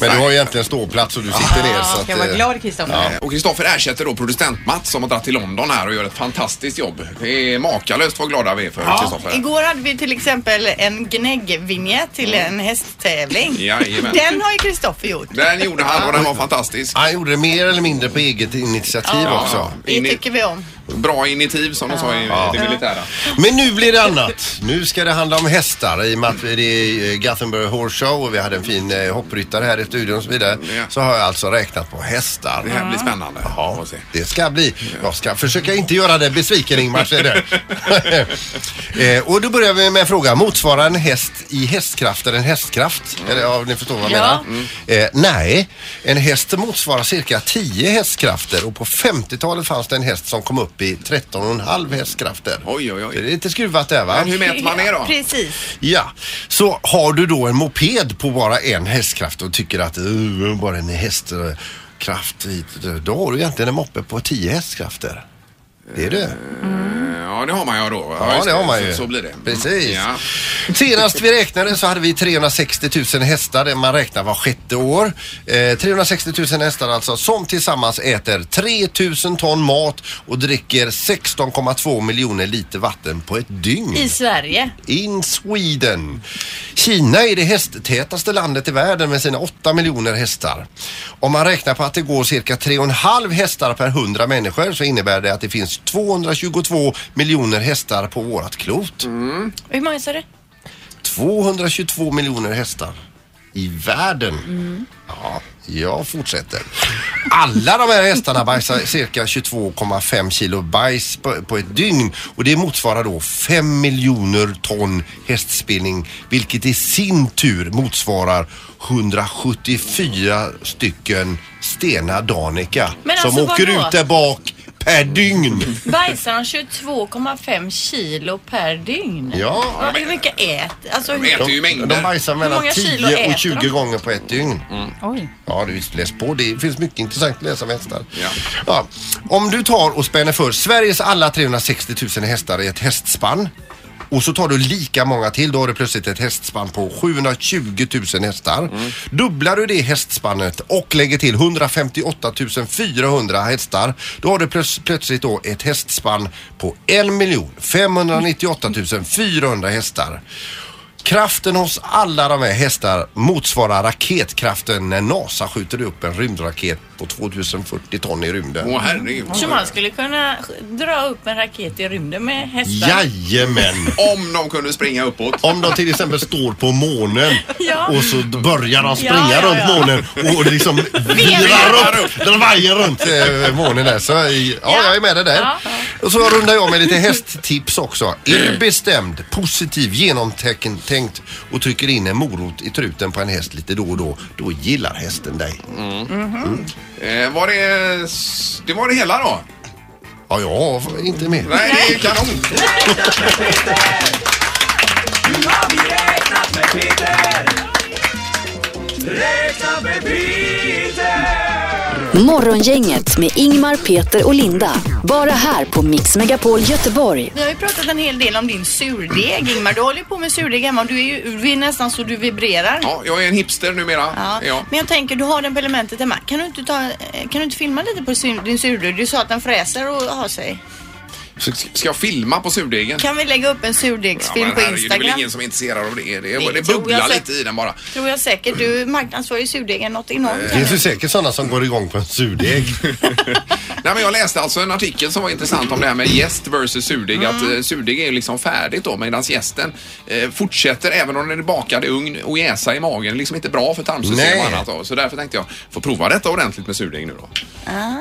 Speaker 5: Men du har ju egentligen ståplats och du sitter ner så att... eh,
Speaker 8: Kristoffer.
Speaker 3: Och Kristoffer ersätter då producent Mats som har dragit till London här och gör ett fantastiskt jobb. Det är makalöst vad glada vi är för Kristoffer.
Speaker 4: Igår hade vi till exempel en gnäggvinjett till en hästtävling.
Speaker 3: Jajamän.
Speaker 4: Den har ju Kristoffer gjort.
Speaker 3: Den gjorde han och den var fantastisk.
Speaker 5: Han gjorde det mer eller mindre på eget initiativ
Speaker 3: Ja.
Speaker 5: också.
Speaker 4: Det tycker vi om.
Speaker 3: Bra initiativ som de sa i
Speaker 5: Ja.
Speaker 3: det militära.
Speaker 5: Men nu blir det annat. Nu ska det handla om hästar i och med att det är eh, Gothenburg Horse Show och vi hade en fin eh, hoppryttare här i studion och så vidare. Så har jag alltså räknat på hästar.
Speaker 3: Det här blir spännande.
Speaker 5: Ja, det ska bli. Jag ska försöka inte göra dig besviken Ingmar. ser du. eh, och då börjar vi med en fråga. Motsvarar en häst i hästkraft eller en hästkraft? Eller, ja, ni förstår vad jag
Speaker 2: Ja.
Speaker 5: menar. Eh, nej, en häst motsvarar cirka 10 hästkrafter och på 50-talet fanns det en häst som kom upp i 13,5 hästkrafter.
Speaker 3: Oj, oj, oj.
Speaker 5: Det är lite skruvat där va?
Speaker 3: Men hur mäter man det då?
Speaker 4: Precis.
Speaker 5: Ja, så har du då en moped på bara en hästkraft och tycker att uh, bara en hästkraft hit. Då har du egentligen en moppe på 10 hästkrafter. Det är det.
Speaker 4: Mm.
Speaker 3: Ja, det har man ju då.
Speaker 5: Ja,
Speaker 3: just
Speaker 5: det har man ju.
Speaker 3: Så, så blir det.
Speaker 5: Precis.
Speaker 3: Ja.
Speaker 5: Senast vi räknade så hade vi 360 000 hästar, det man räknar var sjätte år. Eh, 360 000 hästar alltså som tillsammans äter 3 000 ton mat och dricker 16,2 miljoner liter vatten på ett dygn.
Speaker 4: I Sverige.
Speaker 5: In Sweden. Kina är det hästtätaste landet i världen med sina 8 miljoner hästar. Om man räknar på att det går cirka 3,5 hästar per 100 människor så innebär det att det finns 222 miljoner hästar på vårat klot.
Speaker 4: Hur många sa du?
Speaker 5: 222 miljoner hästar i världen. Ja, jag fortsätter. Alla de här hästarna bajsar cirka 22,5 kilo bajs på, på ett dygn och det motsvarar då 5 miljoner ton hästspinning vilket i sin tur motsvarar 174 stycken Stena Danica
Speaker 4: Men
Speaker 5: som
Speaker 4: alltså,
Speaker 5: åker
Speaker 4: vadå?
Speaker 5: ut där bak per dygn.
Speaker 4: Bajsar han 22,5 kilo per dygn?
Speaker 5: Ja.
Speaker 4: Vad- Hur mycket äter alltså, hur-
Speaker 5: De bajsar
Speaker 4: Hur
Speaker 5: mellan
Speaker 4: många kilo
Speaker 5: 10 och
Speaker 4: äter
Speaker 5: 20
Speaker 4: de? Mm.
Speaker 5: gånger på ett dygn.
Speaker 8: Oj.
Speaker 5: Ja, du visst läs på. Det finns mycket intressant att läsa om hästar. Ja. Om du tar och spänner för Sveriges alla 360 000 hästar i ett hästspann och så tar du lika många till, då har du plötsligt ett hästspann på 720 000 hästar. Dubblar du det hästspannet och lägger till 158 400 hästar, då har du plöts- plötsligt då ett hästspann på 1 598 400 hästar. Kraften hos alla de här hästar motsvarar raketkraften när NASA skjuter upp en rymdraket på 2040 ton i rymden.
Speaker 3: Åh, herregud.
Speaker 4: Så man skulle kunna dra upp en raket i rymden med hästar?
Speaker 5: Jajamän!
Speaker 3: Om de kunde springa uppåt.
Speaker 5: Om de till exempel står på månen
Speaker 4: Ja.
Speaker 5: och så börjar de springa
Speaker 4: Ja, ja, ja.
Speaker 5: runt månen och liksom virar upp, driver runt eh, månen där. Så eh, ja, jag är med dig där. Och så rundar jag med lite hästtips också. Är du bestämd, positiv, genomtänkt och trycker in en morot i truten på en häst lite då och då, då gillar hästen dig.
Speaker 3: Mm.
Speaker 4: Mm-hmm.
Speaker 5: Mm.
Speaker 3: Eh, var det, s- det var det hela då?
Speaker 5: Ja, jag har inte mer.
Speaker 3: Nej, det är ju kanon.
Speaker 2: Nu har vi räknat med Peter! Räkna med Peter!
Speaker 1: Morgongänget med Ingmar, Peter och Linda. Bara här på Mix Megapol Göteborg.
Speaker 4: Vi har ju pratat en hel del om din surdeg Ingmar. Du håller ju på med surdeg hemma och du är ju du är nästan så du vibrerar.
Speaker 3: Ja, jag är en hipster numera.
Speaker 4: Ja.
Speaker 3: Ja.
Speaker 4: Men jag tänker, du har den på elementet hemma. Kan du inte, ta, eh, kan du inte filma lite på sur, din surdeg? Du sa att den fräser och har sig.
Speaker 3: Så s- ska jag filma på surdegen?
Speaker 4: Kan vi lägga upp en
Speaker 3: Ja,
Speaker 4: surdegsfilm
Speaker 3: men
Speaker 4: på
Speaker 3: herregud, det är väl
Speaker 4: Instagram?
Speaker 3: ingen som är intresserad av det. Det,
Speaker 4: Det
Speaker 3: det,
Speaker 4: tror jag
Speaker 3: bubblar
Speaker 4: säkert.
Speaker 3: lite i den bara.
Speaker 4: Tror jag säkert. Du marknadsför ju surdegen något enormt.
Speaker 5: Det finns ju säkert sådana som går igång på en surdeg.
Speaker 3: Nej, men jag läste alltså en artikel som var intressant om det här med jäst versus surdeg. Att
Speaker 4: Mm.
Speaker 3: eh, surdeg är ju liksom färdigt då medan jästen eh, fortsätter även om den är bakad i ugn och jäsa i magen. Det är Liksom inte bra för tarmsystem
Speaker 4: Nej.
Speaker 3: och annat. Då. Så därför tänkte jag få prova detta ordentligt med surdeg nu då.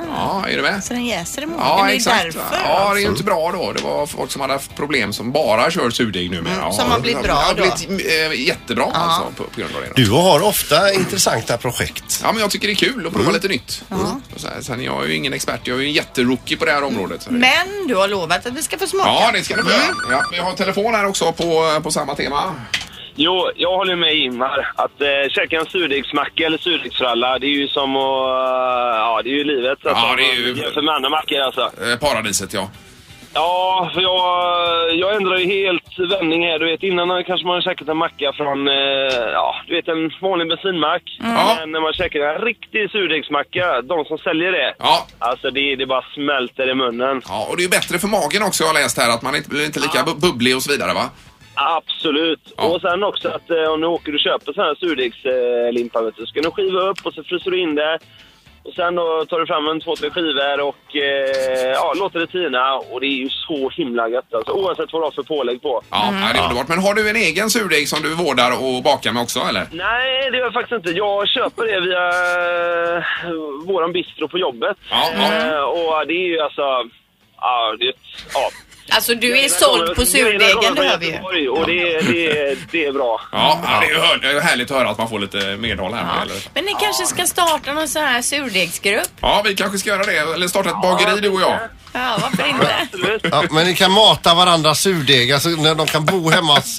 Speaker 3: Ja, är du med?
Speaker 4: Ah, Så den jäser i magen.
Speaker 3: Ja,
Speaker 4: Mm. det är
Speaker 3: exakt.
Speaker 4: därför.
Speaker 3: Ja, det är ju
Speaker 4: alltså.
Speaker 3: inte bra då. Det var folk som hade haft problem som bara kör surdeg numera.
Speaker 4: Mm,
Speaker 3: Ja,
Speaker 4: som har blivit bra
Speaker 3: Det har
Speaker 4: då.
Speaker 3: blivit eh, jättebra alltså på, på grund av det.
Speaker 5: Du har ofta intressanta projekt.
Speaker 3: Ja, men jag tycker det är kul att
Speaker 4: Mm.
Speaker 3: prova lite nytt. Och Så här, sen jag är ju ingen expert, jag är ju en jätterookie på det här området. Så det-
Speaker 4: Men du har lovat att vi ska få Mm. smaka. Mm.
Speaker 3: Ja, det ska du få göra. Ja, vi har en telefon här också på, på samma tema.
Speaker 13: Jo, jag håller med Ingmar. Att eh, käka en surdegsmacka eller surdegsralla, det är ju som att... eh, ja, det är ju livet. Alltså,
Speaker 3: Ja, det är ju-
Speaker 13: Jämfört med andra mackor alltså.
Speaker 3: Eh, paradiset, ja.
Speaker 13: Ja, för jag, jag ändrar ju helt vändning här. Du vet, innan har- kanske man har käkat en macka från, eh, ja, du vet en vanlig bensinmack.
Speaker 3: Mm.
Speaker 13: Men när man käkar en riktig surdegsmacka, de som säljer det,
Speaker 3: ja.
Speaker 13: alltså det, det bara smälter i munnen.
Speaker 3: Ja, och det är ju bättre för magen också har jag läst här, att man inte blir inte lika bu- bubblig och så vidare va?
Speaker 13: Absolut. Och sen också att eh, om du åker och köper sån här surdegslimpa, vet du, så ska du skiva upp och så fryser du in det. Och sen då tar du fram en två, tre skivor och eh, ja, låter det tina. Och det är ju så himla gött alltså, oavsett vad du har för pålägg på. Mm.
Speaker 3: Ja,
Speaker 4: Mm.
Speaker 3: ja, det är underbart. Men har du en egen surdeg som du vårdar och bakar med också eller?
Speaker 13: Nej, det gör jag faktiskt inte. Jag köper det via eh, våran bistro på jobbet. Eh, och det är ju alltså... Ja, det, ja.
Speaker 4: Alltså du är
Speaker 13: Grejerna kommer-
Speaker 4: såld på
Speaker 13: grejerna kommer
Speaker 4: surdegen,
Speaker 13: från
Speaker 4: det hör vi ju.
Speaker 13: Göteborg, Och det, det, det är bra.
Speaker 3: Ja, ja, det är ju hör- det är ju härligt att höra att man får lite medhåll här. med, Eller?
Speaker 4: Men ni kanske ska starta någon sån här surdegsgrupp?
Speaker 3: Ja, vi kanske ska göra det. Eller starta ett bageri du och jag.
Speaker 4: Ja, varför inte?
Speaker 5: Ja, men ni kan mata varandra surdegar så när de kan bo hemma hos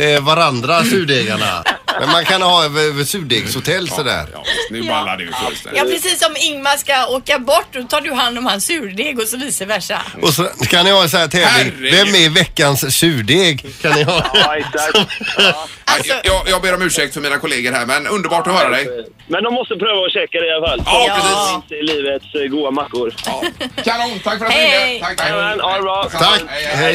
Speaker 5: eh, varandra surdegarna. Men man kan ha över, över surdegshotell sådär.
Speaker 3: nu ballar det ju
Speaker 4: Ja, precis som Ingmar ska åka bort, då tar du hand om hans surdeg och så vice versa.
Speaker 5: Och så kan ni ha en sån här tävling. Vem är veckans surdeg? Kan ni ha?
Speaker 3: Jag- Jag, jag ber om ursäkt för mina kollegor här, men underbart att höra dig.
Speaker 13: Men de måste pröva att käka det i alla fall.
Speaker 3: Ja,
Speaker 13: Det
Speaker 3: precis.
Speaker 13: finns i livets eh, goa mackor.
Speaker 3: Kanon, tack för att du
Speaker 13: Hej.
Speaker 3: ringde. Tack, tack.
Speaker 13: Jajamän, ha det bra.
Speaker 3: Tack. Hej,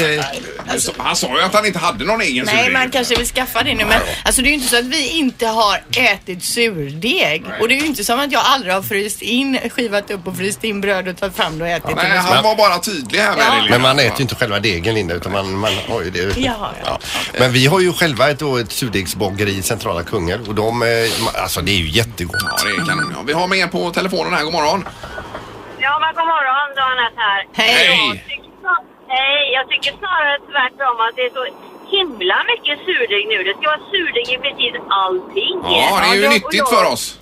Speaker 3: hej. Så- Han sa ju att han inte hade någon egen
Speaker 4: Nej,
Speaker 3: surdeg.
Speaker 4: man kanske vill skaffa det nu. Men alltså, det är ju inte så att vi inte har ätit surdeg. Och det är ju inte som att jag aldrig har fryst in, skivat upp och fryst in bröd och tagit fram det och ätit det.
Speaker 3: Nej, han var bara tydlig här med
Speaker 4: Ja.
Speaker 3: det. Linda.
Speaker 5: Men man äter ju inte själva degen Linda utan man, man har ju det.
Speaker 4: Ja, ja.
Speaker 5: Men vi har ju själva ett, då, ett surdegsbageri i centrala Kungälv och de, eh, alltså det är ju jättegott.
Speaker 3: Ja, det är kanon. Ja, Vi har med er på telefonen här. God morgon.
Speaker 14: Ja, men god morgon, det var Anette här.
Speaker 3: Hej.
Speaker 14: Jag tycker snar- Hej! Jag tycker snarare tvärtom att det är så himla mycket surdeg nu. Det ska vara surdeg i precis allting.
Speaker 3: Ja, det är ju
Speaker 14: jag- och
Speaker 3: nyttigt
Speaker 14: jag-
Speaker 3: för oss.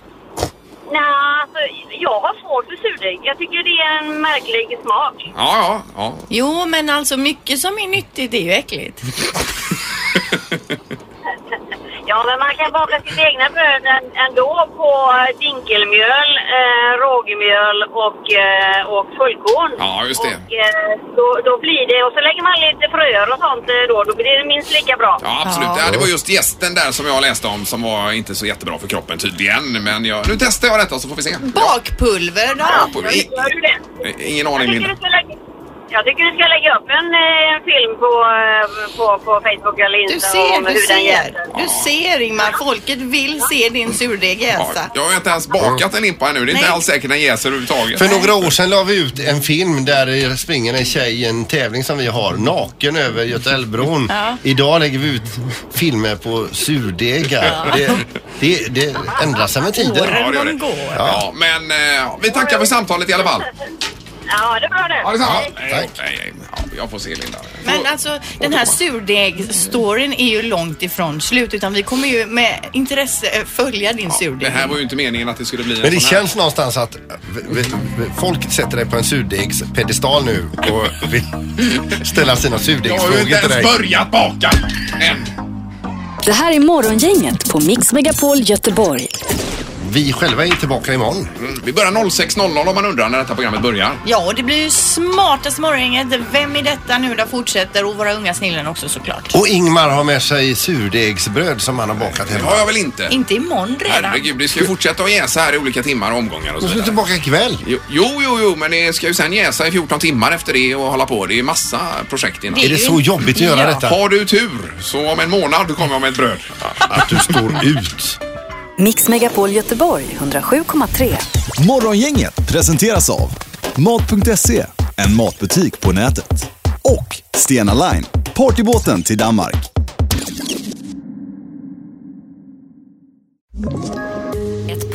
Speaker 14: Nej, alltså jag har svårt för surdeg. Jag tycker det är en märklig smak.
Speaker 3: Ja, ja, ja.
Speaker 4: Jo, men alltså mycket som är nyttigt är ju äckligt.
Speaker 14: Ja, men man kan baka sitt egna bröd än- ändå på eh, dinkelmjöl, eh, rågmjöl och, eh, och fullkorn.
Speaker 3: Ja, just det.
Speaker 14: Och, eh, då, då blir det, och så lägger man lite fröer och sånt eh, då, då blir det minst lika bra.
Speaker 3: Ja, absolut. Ja, det var just gästen där som jag läste om som var inte så jättebra för kroppen tydligen. Men jag, nu testar jag detta så får vi se.
Speaker 4: Bakpulver då?
Speaker 3: Bakpulver. I-
Speaker 14: Gör du det?
Speaker 3: Eh, Ingen aning
Speaker 14: Jag tycker
Speaker 3: Linda.
Speaker 14: du ska lägga, jag tycker du ska lägga upp en, eh, en film på, eh, på, på Facebook eller Insta
Speaker 4: Du ser,
Speaker 14: om
Speaker 4: du
Speaker 14: hur den
Speaker 4: ser.
Speaker 14: jäser.
Speaker 4: Du ser Ingmar, folket vill se din surdeg jäsa.
Speaker 3: Jag har inte ens bakat en limpa ännu. Det är inte alls säkert den jäser överhuvudtaget.
Speaker 5: För några år sedan la vi ut en film där det springer en tjej i en tävling som vi har naken över Götaälvbron.
Speaker 4: Ja.
Speaker 5: Idag lägger vi ut filmer på surdegar.
Speaker 3: Ja.
Speaker 5: Det, det, det ändrar sig med tiden.
Speaker 3: Ja, det gör det. Ja, men eh, vi tackar för samtalet i alla fall.
Speaker 14: Ja, det är bra det.
Speaker 3: Ha detsamma. Hej, hej, hej. Ja, jag får se Linda.
Speaker 4: Men alltså den här surdegsstoryn är ju långt ifrån slut utan vi kommer ju med intresse eh, följa din surdeg.
Speaker 3: Det här var ju inte meningen att det skulle bli en
Speaker 5: Men det
Speaker 3: sån här.
Speaker 5: känns någonstans att eh, v- v- v- folk sätter dig på en surdegspedestal nu och vill ställa sina
Speaker 3: Jag har ju inte
Speaker 5: surdegsfrågor till
Speaker 3: ens
Speaker 5: dig.
Speaker 3: börjat baka.
Speaker 1: Det här är Morgongänget på Mix Megapol Göteborg.
Speaker 5: Vi själva är tillbaka imorgon.
Speaker 3: Mm. Vi börjar 06.00 om man undrar när detta programmet börjar.
Speaker 4: Ja, och det blir ju smartaste morgongänget. Vem är detta nu? Där fortsätter och våra unga snillen också såklart.
Speaker 5: Och Ingmar har med sig surdegsbröd som han har bakat hemma.
Speaker 3: Det har jag väl inte?
Speaker 4: Inte imorgon redan.
Speaker 3: Herregud, det ska ju fortsätta att jäsa här i olika timmar och omgångar och så
Speaker 5: Men
Speaker 3: vidare.
Speaker 5: tillbaka ikväll.
Speaker 3: Jo, jo, jo, jo, men det ska ju sen jäsa i 14 timmar efter det och hålla på. Det är massa projekt innan.
Speaker 5: Det är Är det ju- så jobbigt att göra Ja. detta?
Speaker 3: Har du tur så om en månad kommer jag med ett bröd.
Speaker 5: Att du står ut.
Speaker 1: Mix Megapol Göteborg 107,3.
Speaker 2: Morgongänget presenteras av Mat.se, en matbutik på nätet. Och Stena Line, partybåten till Danmark.
Speaker 15: Ett